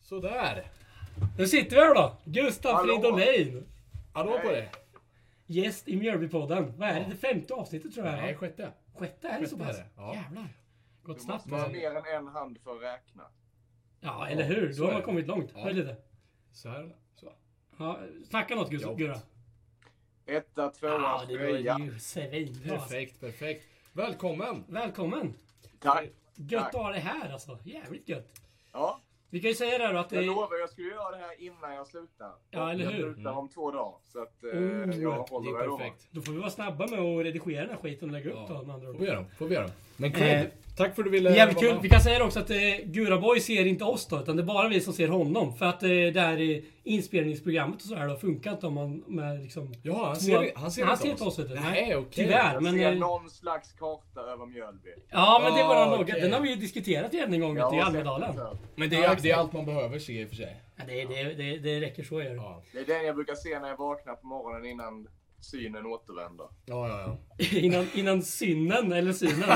Sådär. Nu sitter vi här då. Gustav Hallå. Fridolin. Hallå på Hej. dig. Gäst i Mjölbypodden. Vad är det? Det femte avsnittet tror jag. Nej, Nej, sjätte. sjätte är det så sjätte pass? är det. Ja. Jävlar. Gått Du snabbt. måste ha Alltså. mer än en hand för att räkna. Ja, eller Ja, hur? så Då har är man det. kommit långt. Ja. Hör lite. Så här. Så. Ja, snacka något Gustav. Jobbigt. Gurra. Etta, Ja, tvåa, det var trea. ju svinbra. alltså. Perfekt, perfekt. Välkommen! Välkommen. Tack. Gött att Tack. ha dig här alltså. Jävligt gött. Ja, Vi kan ju säga det här då att det jag är... lovar jag skulle göra det här innan jag slutar. Ja, eller jag hur? Mm. slutar om två dagar. Så att eh, Oh, jag Det håller är mig då. perfekt. Då får vi vara snabba med att redigera den här skiten och lägga upp då med andra Får ord. vi göra? Får vi göra? Men cred, tack för att du ville Eh, Jävligt vara kul. med. Vi kan säga det också att eh, Guraboy ser inte oss då, utan det är bara vi som ser honom. För att eh, det här eh, inspelningsprogrammet och så här då funkar inte om man med liksom... Ja, han två- ser, han ser han ser inte oss vet du. Nej, okej. Tyvärr. Jag Men, ser eh, någon slags karta över Mjölby. Ja, men det är bara Ah, något. okej. Den har vi ju diskuterat igen en gång vet du, i har sett Almedalen. den förr. Men det Ja, är, exakt. det är allt man behöver se i och för sig. Ja, det, det, det, det räcker så gör det. Ja, Det är den jag brukar se när jag vaknar på morgonen innan synen återvänder. ja, ja. ja. innan, innan synen, eller synen.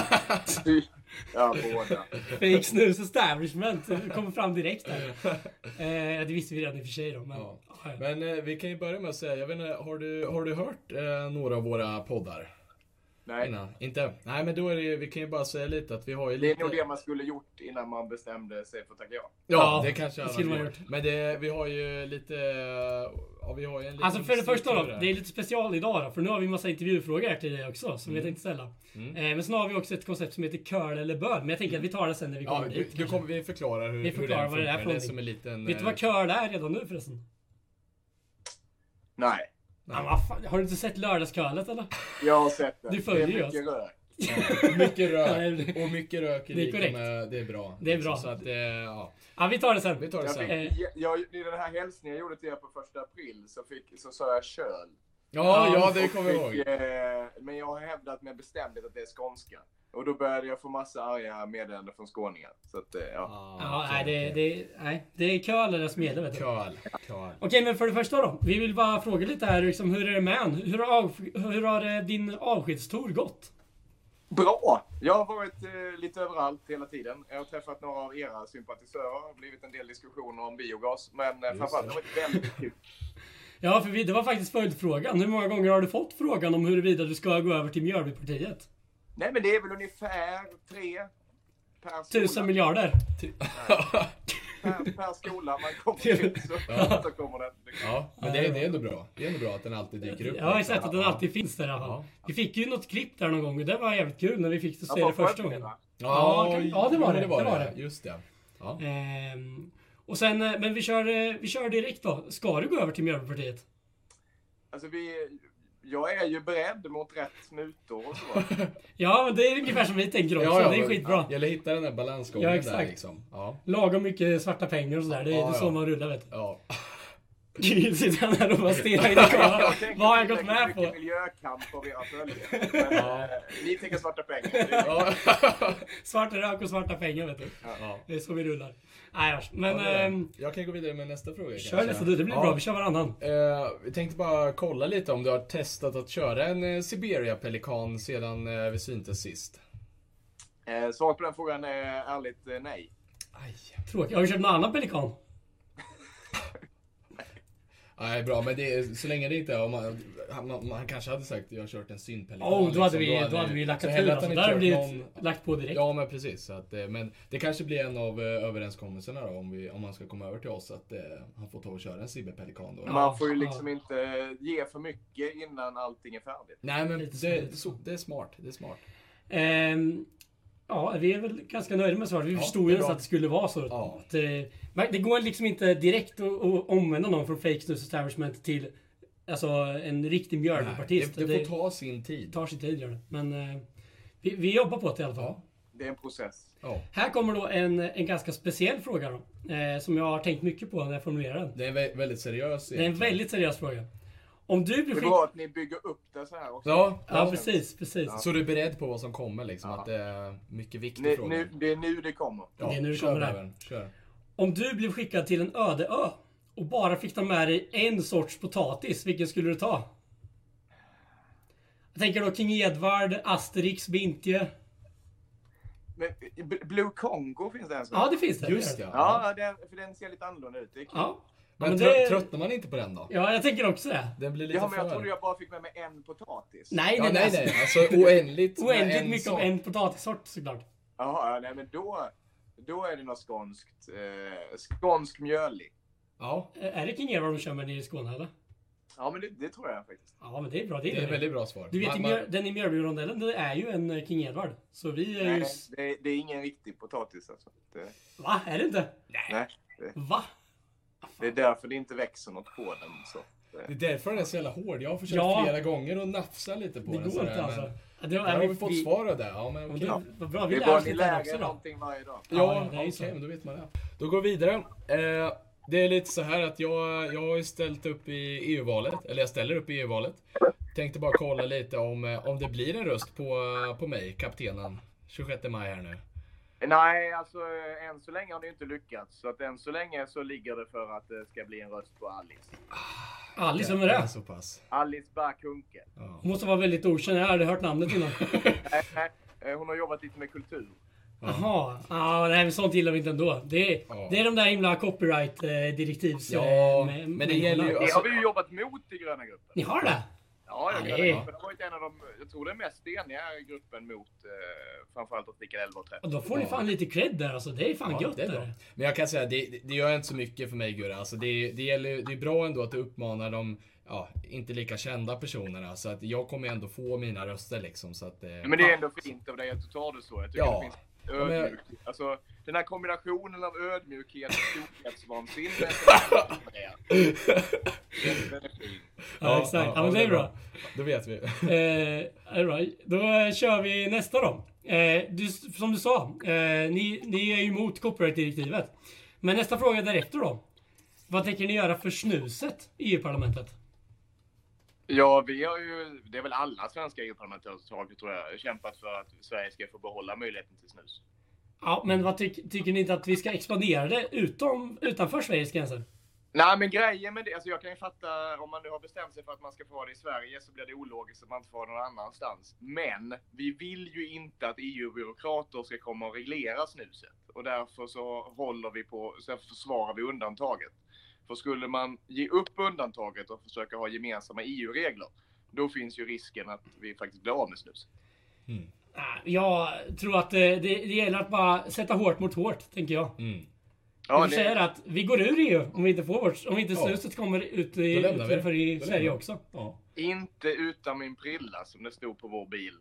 ja, båda. Fake snus establishment. Det kommer fram direkt där. Eh, det visste vi redan i och för sig då. Men, Ja. ja. ja. Men eh, vi kan ju börja med att säga, jag vet inte, har du, har du hört eh, några av våra poddar? Nej, Innan? Inte? Nej, men då är det ju, vi kan ju bara säga lite att vi har ju det är lite... nog det man skulle gjort innan man bestämde sig för att tacka ja. Ja, Ja, det kanske det alla skulle hade man gjort. Men det, vi har ju lite... Ja, vi har ju en liten Alltså för det första då, struktur här. det är lite special idag då, för nu har vi massa intervjufrågor här till dig också som vi tänkte ställa. Eh, men sen har vi också ett koncept som heter curl eller bög, men jag tänker att vi tar det sen när vi Ja, kommer du, dit. du kanske. kommer, vi förklarar hur, Vi förklarar hur vad det är för funkar. Det är någonting. som en liten... Vet du vad eh, curl är redan nu förresten? Nej, Ja, vad fan, har du inte sett lördagscurlet eller? jag har sett den. Du följer det ju alltså. är mycket rök. Mycket Nej, rök. Och mycket rök är det är lika korrekt. med... Det är bra. Det är bra. Så, så att, eh, ja. Ja, vi tar det sen. Vi tar det Jag sen. fick, Ja, Eh. jag, jag, I den här hälsningen jag gjorde till er på första april så, fick, så sa jag köl. ja, Ja, det Och kommer jag fick, ihåg. eh, Men jag har hävdat med bestämdhet att det är skånska. Och då började jag få massa arga meddelanden från skåningar. Så att, eh, ja. Ja, nej, det, det, nej, det är curl eller som gäller vet du. Curl. Curl. Okej, men för det första då. Vi vill bara fråga lite här liksom, hur är det med en? Hur har, av, hur har eh, din avskedstour gått? Bra! Jag har varit eh, lite överallt hela tiden. Jag har träffat några av era sympatisörer. Det har blivit en del diskussioner om biogas. Men eh, framförallt har det varit väldigt kul. Ja, för vi, det var faktiskt följdfrågan. Hur många gånger har du fått frågan om huruvida du ska gå över till Mjölbypartiet? Nej men det är väl ungefär tre per skola, Tusen miljarder. Typ per, per skola man kommer till. Så, så kommer den. Ja, men det, det är ändå bra. Det är ändå bra att den alltid dyker upp. Ja, exakt. Att den alltid finns där i alla fall. Ja. Vi fick ju något klipp där någon gång och det var jävligt kul när vi fick se var det första förberedd, gången. va? Ja, kan- ja, det var jo, det. Det var det. Just det. Ja. Ehm, och sen, eh, men vi kör, eh, vi kör direkt då. Ska du gå över till Mjölbypartiet? Alltså vi... Jag är ju beredd mot rätt mutor och så. Ja, men det är ungefär som vi tänker också. det är skitbra. Eller hitta den där balansgången Ja, där exakt. liksom. Ja. Lagom mycket svarta pengar och sådär. Det är, Ja, det ja. är så man rullar vet Ja. du. Sitter han här och bara stirrar in i kameran. Jag tänker Vad har jag gått tillräckligt med på? mycket miljökamp av era följare. Men, eh, Ni tänker svarta pengar. Det är- Ja. Svart rök och svarta pengar vet du. Ja. Det är så vi rullar. Nej, vars. men... Ja, det är det. ehm, Jag kan gå vidare med nästa fråga Kör kanske. nästa du, det blir Ja. bra. Vi kör varannan. Eh, Vi tänkte bara kolla lite om du har testat att köra en eh, Siberia-pelikan sedan eh, vi syntes sist. Eh, Svaret på den frågan är ärligt eh, nej. Aj. Tråkigt. Har du kört någon annan pelikan? Nej, bra, men det, är- så länge det inte... Om man, han, man, man kanske hade sagt jag har kört en synpelikan. Oh, då hade liksom. vi, då hade vi lackat så ur hellre att alltså. han Där inte hade kört vi någon- lagt på direkt. Ja men precis. Så att, eh, men det kanske blir en av eh, överenskommelserna då om, vi, om man ska komma över till oss att eh, han får ta och köra en Siberpelikan då. Ja. Man får ju liksom inte ge för mycket innan allting är färdigt. Nej men Lite det, så. så, det är smart. Det är smart. Ehm, ja, vi är väl ganska nöjda med svaret. Vi Ja, förstod det är ju ens bra. att det skulle vara så. Ja. Att, eh, men det går liksom inte direkt att, att omvända någon från fake snus establishment till alltså, en riktig det, mjölnpartist. det får ta sin tid. tar sin tid gör det. Men eh, vi, vi jobbar på det i alla fall. Ja. Det är en process. Ja. Här kommer då en, en ganska speciell fråga då. Eh, som jag har tänkt mycket på när jag formulerar den. Det är en vä- väldigt seriös. Det är en väldigt seriös fråga. Om du blir Det är skickad... bra att ni bygger upp det så här också. Ja, Ja, precis, precis. Så du är beredd på vad som kommer liksom? Att det är mycket viktiga Nu, frågor. nu, det är nu det kommer. ja, Det är nu det kör kommer här. Bävern, Kör. Om du blev skickad till en öde ö och bara fick ta med dig en sorts potatis, vilken skulle du ta? Jag tänker då King Edward, Asterix, Bintje. Men, B- Blue Congo finns det en som Ja, det finns det. Just ja. ja. Ja, den, för den ser lite annorlunda ut. Det är kul. Ja, Men, men trö- det- tröttnar man inte på den då? ja jag tänker också det. Den blir lite Ja, men jag för... trodde jag bara fick med mig en potatis. Nej, Ja, nej, nej, alltså, nej. Alltså oändligt med Oändligt en mycket sak. om en potatissort såklart. Jaha, ja, nej men då, då är det något skånskt. Eh, skånsk mjölig. Ja, Eh, Är det King Evar de kör med nere i Skåne eller? Ja, men det, det tror jag faktiskt. Ja, men det är bra. Det det är, är det. ett väldigt bra svar. Du vet, Man- i man- Mjör, den i Mjölbyrondellen, det är ju en eh, King Edward. Så vi är ju... Nej, s- det, det är ingen riktig potatis alltså. Det, Va? Är det inte? nej, Va? det är därför det inte växer något på den. Så. Det är därför den är så jävla hård. Jag har försökt Ja. flera gånger att nafsa lite på Det den. går sådär, inte alltså. Men... Ja, Det var, Där har men vi fått vi- svar av det. Ja, men men okej. du- Ja, Vad bra, vi Det är lär bara oss ni lite här lär också er då. någonting varje dag. ja, det är okej, så. men då vet man det. Då går vi vidare. Eh, det är lite så här att jag, jag har ju ställt upp i EU-valet, eller jag ställer upp i EU-valet. Tänkte bara kolla lite om, eh, om det blir en röst på, på mig, kaptenen, 26 maj här nu. Nej, alltså eh, än så länge har ni inte lyckats. Så att än så länge så ligger det för att det ska bli en röst på Alice. Alice, vem är det? Så pass. Alice Bakunke. Ja. Hon måste vara väldigt okänd, jag har aldrig hört namnet innan. eh, Hon har jobbat lite med kultur. Jaha. Ja, nej men sånt gillar vi inte ändå. Det är, Ja. det är de där himla copyright-direktivs... eh, Ja, men det gäller ju- Det har vi ju jobbat mot i gröna gruppen. Ni har det? Ja, Ja, jag det kan är- det. Det har varit en av de, jag tror den mest eniga gruppen mot eh, framförallt åt Mikael 11 och 13. Och då får ni fan lite cred där alltså. Det är fan Ja, gött. det är bra. Men jag kan säga, det, det- det gör inte så mycket för mig Gurra. Alltså det, det, gäller, det är bra ändå att du uppmanar de ja, inte lika kända personerna. Så att jag kommer ändå få mina röster liksom. Så att, eh, Men det är ändå fint av dig att du tar det så. Jag tycker Ja. det finns men- ödmjuk. Alltså, den här kombinationen av ödmjukhet och storhetsvansinne. Den- den är fin. Ja, exakt. Ja, men det är bra. Då vet Mm. vi. Eh, all right. Då eh, kör vi nästa då. Eh, du, som du sa, eh, ni, ni är ju emot copyright-direktivet. Men nästa fråga därefter då. Vad tänker ni göra för snuset i EU-parlamentet? Ja, vi har ju, det är väl alla svenska EU-parlamentariker tror jag, kämpat för att Sverige ska få behålla möjligheten till snus. Ja, men vad tyck, tycker ni inte att vi ska expandera det utom, utanför Sveriges gränser? Nej, men grejen med det, alltså jag kan ju fatta om man nu har bestämt sig för att man ska få ha det i Sverige så blir det ologiskt att man inte får ha det någon annanstans. Men vi vill ju inte att EU-byråkrater ska komma och reglera snuset och därför så håller vi på, så därför försvarar vi undantaget. För skulle man ge upp undantaget och försöka ha gemensamma EU-regler, då finns ju risken att vi faktiskt blir av med snus. Ah, Jag tror att eh, det, det gäller att bara sätta hårt mot hårt, tänker jag. Mm. Ja, vi säger att vi går ur EU om vi inte får vårt, om inte Ja. snuset kommer ut Då i, lämnar vi det. utanför i Då Sverige lämnar vi. också. Ja. Inte utan min prilla som det stod på vår bil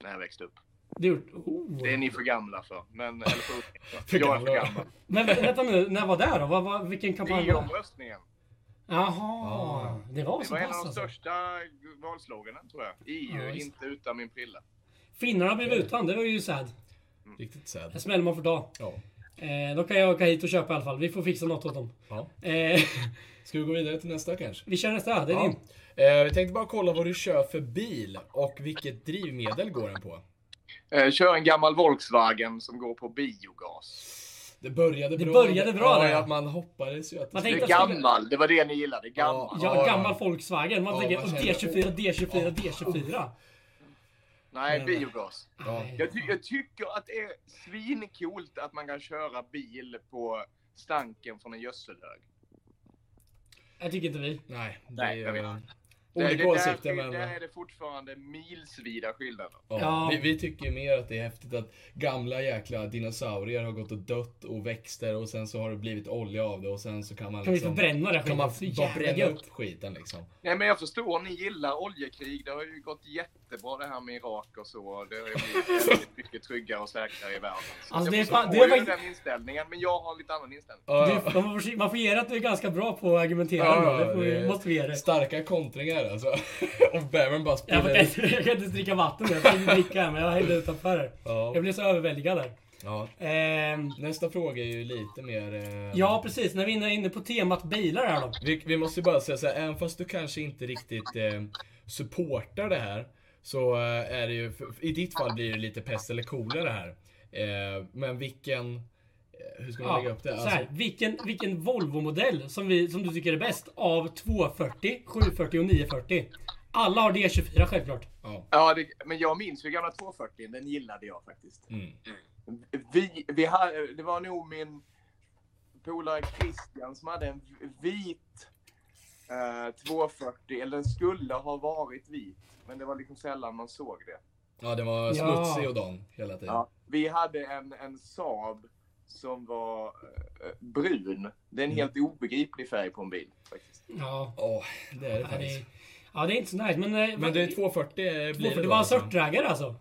när jag växte upp. Det, är gjort- oh. Det är ni för gamla för. Men, eller för, För jag är för gamla. gammal. Men vä- vänta nu, när var det här då? Vad, vad, vilken kampanj var det? EU-omröstningen. Jaha, det var Det så var en pass av de alltså. största valsloganen tror jag. EU, Ja, visst. inte utan min prilla. Finnarna blev utan, det var ju sad. Riktigt En sad. smäll man får ta. Ja. Eh, då kan jag åka hit och köpa i alla fall. Vi får fixa något åt dem. Ja. Eh, Ska vi gå vidare till nästa kanske? vi kör nästa, det är Ja. din. Eh, vi tänkte bara kolla vad du kör för bil och vilket drivmedel går den på? Eh, kör en gammal Volkswagen som går på biogas. Det började Det bra. började bra ja, där. ja, man hoppades ju att Man Det tänkte är att- gammal, det var det ni gillade. Gammal. Ja, Ja, ja. gammal Volkswagen. Man Ja, tänker man och känner- D24, D24, D24. Nej, Men- biogas. Ja. Nej. Jag, ty- jag tycker att det är svincoolt att man kan köra bil på stanken från en gödselhög. Jag tycker inte vi. Nej, det är Nej, jag ju... vet eh, Det, det, Olika åsikter där, där men... är det fortfarande milsvida skillnader. Ja. Ja. Vi, vi tycker ju mer att det är häftigt att gamla jäkla dinosaurier har gått och dött och växter och sen så har det blivit olja av det och sen så kan man Kan vi liksom... förbränna det kan man skiten? Så bara jävla bränna gött. upp skiten liksom. Nej, men jag förstår, ni gillar oljekrig. Det har ju gått jättebra det här med Irak och så. Det har ju blivit väldigt mycket tryggare och säkrare i världen. Så Alltså, jag det är förstår fan- det är ju faktiskt- den inställningen, men jag har en lite annan inställning. Du, man, får, försöka- man får ge dig att du är ganska bra på att argumentera. Ja, ändå. det får, det- vi- måste vi ge dig. Starka kontringar alltså. och Baron bara Jag kan, spiller... inte, jag kan inte ens dricka vatten. Jag tänkte dricka här, men jag hällde utanför här. Ja. Jag blev så överväldigad där. Ja. Ehm, Nästa fråga är ju lite mer... eh, ja, precis. När vi är inne på temat bilar här då. Vi, vi måste ju bara säga så här, även fast du kanske inte riktigt eh, supportar det här. Så eh, är det ju, för- i ditt fall blir det lite pest eller kolera det här. Eh, men vilken, eh, hur ska man lägga Ja, upp så det? Alltså. här, vilken, vilken Volvo-modell som, vi, som du tycker är bäst av 240, 740 och 940? Alla har D24 självklart. Ja. Ja, det, men jag minns ju gamla 240, den gillade jag faktiskt. Mm. Vi, vi hade, det var nog min polare Christian som hade en vit eh, 240, eller den skulle ha varit vit, men det var liksom sällan man såg det. ja, den var Ja. smutsig och dan hela tiden. Ja. Vi hade en, en Saab som var eh, brun. Det är en helt obegriplig färg på en bil. Faktiskt. Ja. Åh, det är det Ja, faktiskt. det, ja, det är inte så nice. Men, eh, Men det är 240 blir för det då, det var en alltså. störtdraggare alltså?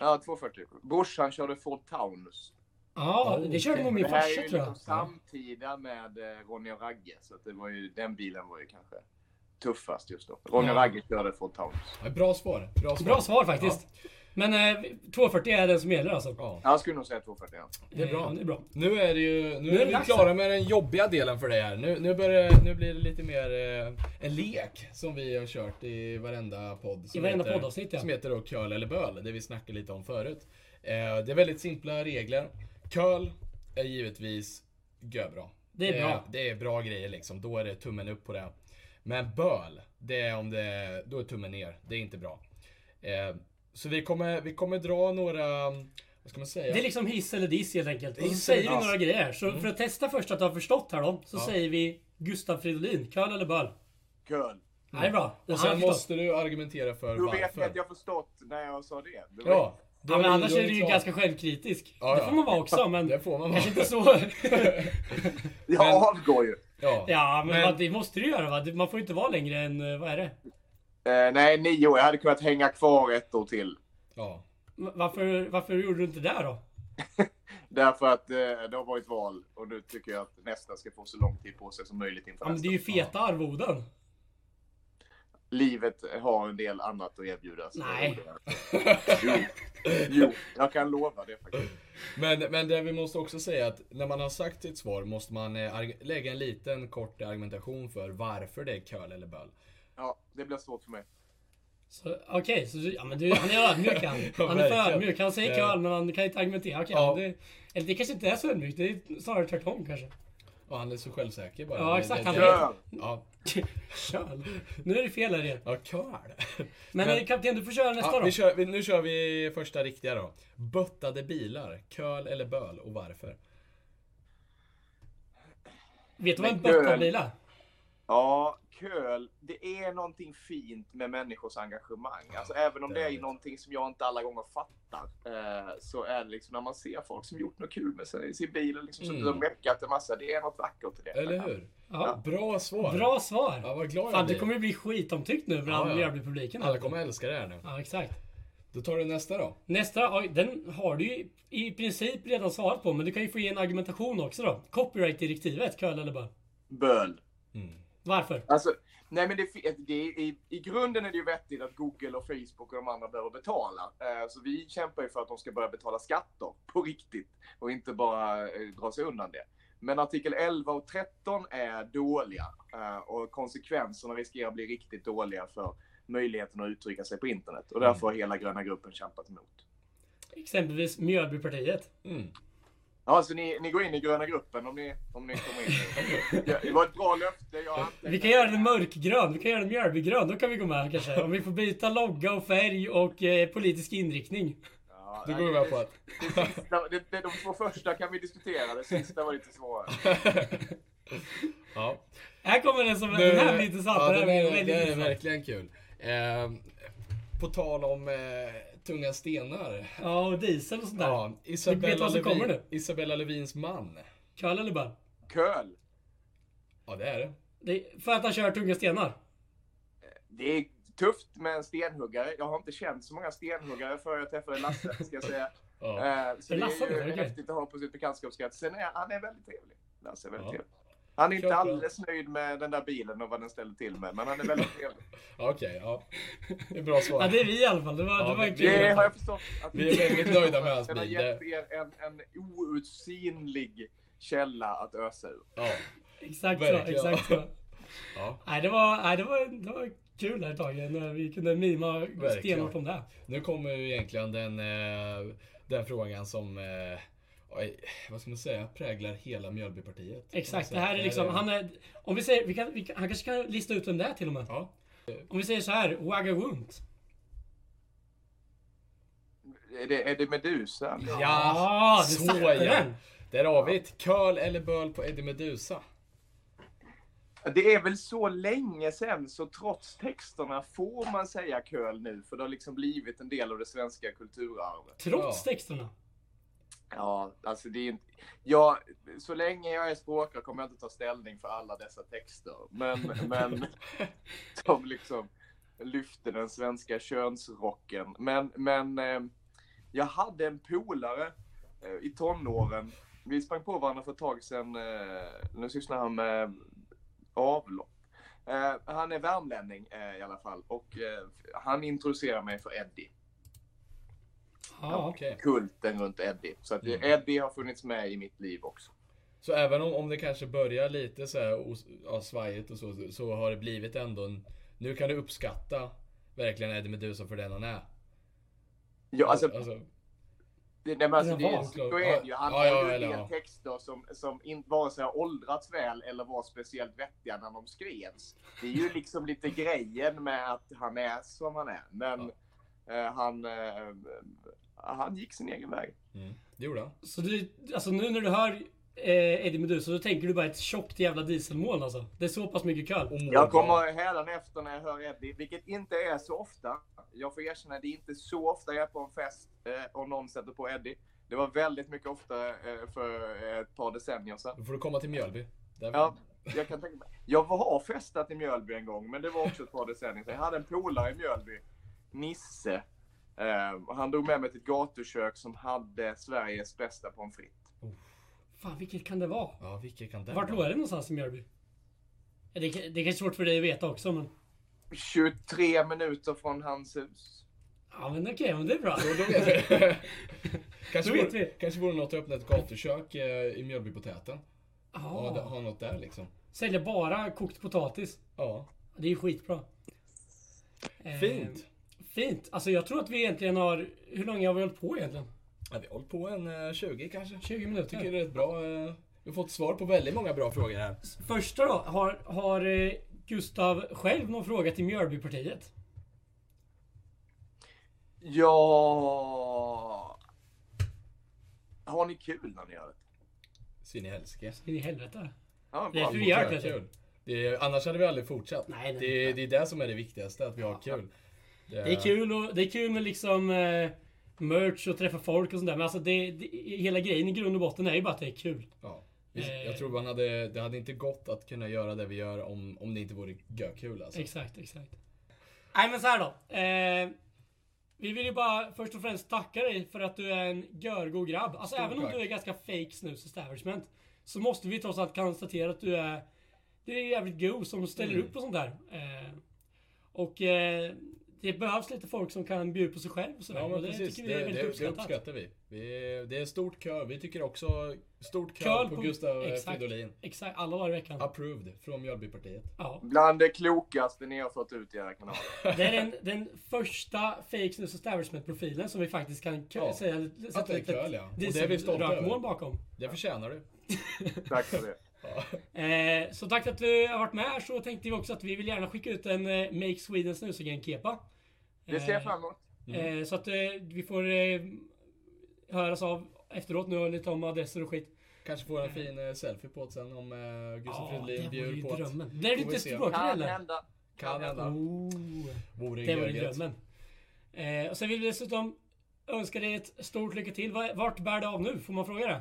Ja, 240. Brorsan körde Ford Taunus. Ja, Oh, det körde nog okej. min det här farsa är ju tror jag. liksom samtida med eh, Ronny och Ragge. Så att det var ju, den bilen var ju kanske tuffast just då. Ronny och Ja. Ragge körde Ford Taunus. Ja, Bra svar. Bra svar. Bra svar faktiskt. Men eh, 240 är den som gäller alltså. Ja. Jag skulle nog säga 240. Ja. det är bra. Eh, det är bra. Nu är det ju, nu är det är vi dags klara här. med den jobbiga delen för dig här. Nu, nu, börjar, nu blir det lite mer eh, en lek som vi har kört i varenda podd. Som I varenda poddavsnitt, ja. Som heter då Curl eller Böl, det vi snackade lite om förut. Eh, det är väldigt simpla regler. Curl är givetvis göbra. Det är bra. det är bra grejer liksom, då är det tummen upp på det. Men böl, det är om det, då är tummen ner. Det är inte bra. Eh, så vi kommer, vi kommer dra några, vad ska man säga? Det är liksom hiss eller diss helt enkelt. Och så Hiss säger vi eller diss. Mm. några grejer. Så för att testa först att du har förstått här då. Så Ja. säger vi Gustav Fridolin, curl eller böl? Kul! Ja, Det är bra. Och Han sen har förstått. måste du argumentera för Hur vet varför. ni att jag förstått när jag sa det? det var- Ja. då Ja, men är annars då är du ju klart. ganska självkritisk. Ja, det ja. får man vara också men... Det får man Kanske vara. inte så... Jag avgår ju! Ja. ja men, Men- vad- det måste du göra va? Du- Man får inte vara längre än, eh, vad är det? Eh, nej, nio år. Jag hade kunnat hänga kvar ett år till. ja. Va- Varför, varför gjorde du inte det då? Därför att eh, det har varit val och nu tycker jag att nästa ska få så lång tid på sig som möjligt inför Ja, men nästa. det är ju feta arvoden. Livet har en del annat att erbjuda. så Nej. Jo, jo, jag kan lova det faktiskt. Men, men det vi måste också säga att när man har sagt sitt svar måste man eh, arg- lägga en liten kort argumentation för varför det är curl eller böl. Ja, det blir svårt för mig. Så, Okej, så du- ja, men du, han är ödmjuk han. Han är för verkligen. ödmjuk. Han säger Ja. curl men han kan inte argumentera. Okej, Ja. men det, eller det kanske inte är så ödmjukt. Det är snarare tvärtom kanske. Och han är så självsäker bara. Ja, Det- exakt, det- han det- vet. Ja, Curl. Nu är det fel här igen. ja curl. Men, Men- eh, kapten, du får köra nästa Ja, då. vi kör, vi, nu kör vi första riktiga då. Böttade bilar, curl eller böl och varför? Vet du vad en Men curl- böttenbil är? Ja, köl. Det är någonting fint med människors engagemang. Alltså, även om det det är är det. någonting som jag inte alla gånger fattar. Eh, så är det liksom när man ser folk som gjort något kul med sig, sin bil och liksom Mm. suttit och meckat en massa. Det är något vackert i det. Eller hur? Ja. Bra svar! Bra svar. Ja, vad glad jag Fan, blir. det kommer ju bli skitomtyckt nu bland Ja, ja. Mjölbypubliken. Alla kommer älska det här nu. Ja, exakt. Då tar du nästa då. Nästa, oj, den har du ju i princip redan svarat på, men du kan ju få ge en argumentation också då. Copyright-direktivet, curl eller böl? Böl. Mm. Varför? Alltså, nej men det, fi- det, är- i, i grunden är det ju vettigt att Google och Facebook och de andra behöver betala. Eh, så vi kämpar ju för att de ska börja betala skatter på riktigt och inte bara eh, dra sig undan det. Men artikel 11 och 13 är dåliga eh, och konsekvenserna riskerar att bli riktigt dåliga för möjligheten att uttrycka sig på internet. Och därför har Mm. hela gröna gruppen kämpat emot. Exempelvis Mjölbypartiet. Mm. Ja, så ni, ni går in i gröna gruppen om ni, om ni kommer in. Ja, Det var ett bra löfte. Jag antecknar. Vi kan göra den mörkgrön, vi kan göra den mjölbygrön, då kan vi gå med kanske. Om vi får byta logga och färg och eh, politisk inriktning. Ja, Då nej, går vi med på att... Ja, Det, det, de två första kan vi diskutera, det sista var lite svårare. Ja. Här kommer den som, Nu- den här blir intressant. Ja, den här det, blir är, det väldigt är intressant. verkligen kul. Ehm, på tal om eh, tunga stenar. Ja, och diesel och sånt där. Ja, Du vet Isabella, vad som kommer Lövin, nu? Isabella Lövins man. Curl eller böl? Köl, Ja, det är det. Det är För att han kör tunga stenar. det är tufft med en stenhuggare. Jag har inte känt så många stenhuggare förrän jag träffade Lasse, ska jag säga. Ja. Eh, Så Är det Lasse är det? ju Okej. häftigt att ha på sitt bekantskapskrets. Sen är han är väldigt trevlig. Lasse är väldigt Ja. trevlig. Han är inte Klart bra. alldeles nöjd med den där bilen och vad den ställer till med, men han är väldigt trevlig. Okej, ja. Det är bra svar. Äh. Ja, det är vi i alla fall. Det var, Ja, det var vi- kul. Det har jag förstått. Att Vi är väldigt nöjda med hans Den har bil. gett er en, en outsinlig källa att ösa ur. Ja. Exakt så, Verkligen. exakt så. Ja. Nej, det var, nej, det var, det var kul här ett tag när vi kunde mima Verkligen. stenhårt om det. Nu kommer ju egentligen den, eh, den frågan som, eh, oj, vad ska man säga, präglar hela Mjölbypartiet. Alltså, liksom, Exakt, det här är liksom, han är, om vi säger, vi kan, vi kan, han kanske kan lista ut vem det är till och med. Ja. Om vi säger så här, Wagawoont. Är det, är det Medusa? Ah, du så satte ja. den. Där har vi ett. Curl eller böl på Eddie Medusa. Det är väl så länge sedan, så trots texterna får man säga köl nu, för det har liksom blivit en del av det svenska kulturarvet. Trots Ja. texterna. Ja, alltså det är inte... Ja, så länge jag är språkare kommer jag inte ta ställning för alla dessa texter, men, men som liksom lyfte den svenska könsrocken. Men, men eh, jag hade en polare eh, i tonåren. Vi sprang på varandra för ett tag sedan. Eh, nu sysslar han med avlopp. Eh, han är värmlänning eh, i alla fall och eh, han introducerar mig för Eddie Ja. Okej. kulten runt Eddie. Så att Mm. Eddie har funnits med i mitt liv också. Så även om, om det kanske börjar lite så här os, ja, svajigt och så, så har det blivit ändå en... Nu kan du uppskatta verkligen Eddie Meduza för den han är. Ja, alltså, Alltså, det, nej, men alltså det det, var så klart. är det ju. Han Ja, har ja, ju en eller del ja. texter som, som in, vare sig har åldrats väl eller var speciellt vettiga när de skrevs. Det är ju liksom lite grejen med att han är som han är. Men eh, han, eh, han gick sin egen väg. mm, det gjorde han. Så du, alltså nu när du hör eh, Eddie Meduza, då tänker du bara ett tjockt jävla dieselmoln alltså. Det är så pass mycket köl. Och mår bra. Jag kommer hädanefter när jag hör Eddie, vilket inte är så ofta. Jag får erkänna, det är inte så ofta jag är på en fest eh, och någon sätter på Eddie. Det var väldigt mycket ofta eh, för ett par decennier sedan. Då får du komma till Mjölby. Där Ja, jag kan tänka mig. Jag har festat i Mjölby en gång, men det var också ett par decennier sedan. Jag hade en polare i Mjölby, Nisse. Eh, och han drog med mig till ett gatukök som hade Sveriges bästa pommes frites. Fan, vilket kan det vara? ja vilket kan det Vart låg det någonstans i Mjölby? Ja, Det, det är kanske svårt för dig att veta också men... 23 minuter från hans hus. Ja men okej, men det är bra. Då vet vi. kanske, Då vet vore, vi. kanske vore något att öppna ett gatukök eh, i Mjölby på täten. Ja, det- Ja, ha något där liksom. säljer bara kokt potatis. Ja, Det är ju skitbra. Eh, fint. Fint. Alltså jag tror att vi egentligen har... Hur länge har vi hållit på egentligen? Ja, vi har hållit på en eh, 20 kanske. 20 Jag tycker minuter. det är ett bra. eh, Vi har fått svar på väldigt många bra frågor här. Första då. Har, har eh, Gustav själv någon fråga till Mjölbypartiet? Ja... Har ni kul när ni gör det? Svin i helsike. In i helvete. Ja, Det är bra. för vi gör Ja, det. kul. Det är, annars hade vi aldrig fortsatt. Nej, nej. det, är, det är det som är det viktigaste, att vi har kul. Det är kul och det är kul med liksom eh, merch och träffa folk och sånt där. Men alltså det, det, hela grejen i grund och botten är ju bara att det är kul. Ja. Vi- Jag tror man hade, det hade inte gått att kunna göra det vi gör om, om det inte vore gökul alltså. Exakt, exakt. Nej men så här då. Eh, vi vill ju bara först och främst tacka dig för att du är en görgo grabb. Alltså Stort även om tack. du är ganska fake snus establishment. Så måste vi trots allt konstatera att du är Du är jävligt go som ställer Mm. upp på sånt där. Eh, och eh, det behövs lite folk som kan bjuda på sig själv och sådär. Ja och men det precis, det, tycker vi är det, väldigt det, uppskattat. uppskattar vi. vi. Det är stort kö. Vi tycker också stort kö, Curl på, Gustav eh, exakt, Fridolin. Exakt, alla dagar i veckan. Approved från Mjölbypartiet. Ja. Bland det klokaste ni har fått ut i era kanaler. Det är den, den första fake snus establishment profilen som vi faktiskt kan kö- Ja. säga Att det är curl, ja. Och det är vi stolta över. rökmål bakom. Det förtjänar du. Tack för det. Eh, så tack för att du har varit med här så tänkte vi också att vi vill gärna skicka ut en eh, Make Sweden snusingen kepa. Det ser jag fram emot. Mm. Eh, så att eh, vi får eh, höras av efteråt nu och lite om adresser och skit. Kanske får en fin eh, selfie på det sen om eh, Gustav Fridolin det vore ju bjuder på att- drömmen. Det är du Får vi inte se. språkare Kan heller? hända. Kan hända. Oh. Vore Det var ju göget. drömmen. Eh, och sen vill vi dessutom önska dig ett stort lycka till. Va- Vart bär det av nu? Får man fråga det?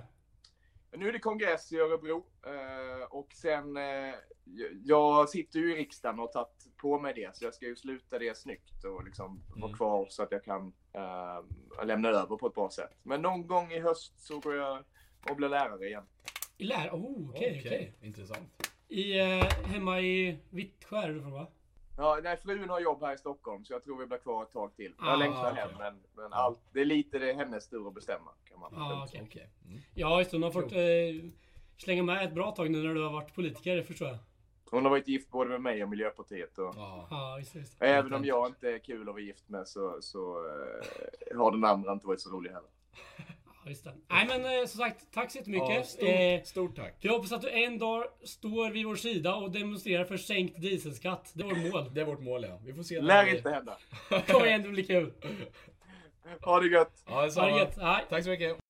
Men Nu är det kongress i Örebro eh, och sen, eh, jag sitter ju i riksdagen och tagit på mig det, så jag ska ju sluta det snyggt och liksom vara Mm. kvar så att jag kan eh, lämna över på ett bra sätt. Men någon gång i höst så går jag och blir lärare igen. I lär... Oh, okej, Okej, okej. intressant. I, eh, hemma i Vittsjö är du från va? Ja, nej, frun har jobb här i Stockholm så jag tror vi blir kvar ett tag till. Jag Ah, längtar okej. hem men, men allt, det är lite det är hennes tur att bestämma. Kan man Ja, lugnt okej. Okej. Mm. Ja, just det. Hon har fått eh, slänga med ett bra tag nu när du har varit politiker, förstår jag. säga. Hon har varit gift både med mig och Miljöpartiet. Och... Ja. Ja, just det. Just det. Även om jag inte är kul att vara gift med så, så eh, har den andra inte varit så rolig heller. Ja, just det. Nej men eh, som sagt, tack så Ja, jättemycket. Eh, stort, stort tack. jag hoppas att du en dag står vid vår sida och demonstrerar för sänkt dieselskatt. Det är vårt mål. Det är vårt mål ja. Vi får se. när Lär vi- inte hända. Kom igen, det blir kul. Ha det gött! Ja, Ha det detsamma. gött. Hej. Tack så mycket.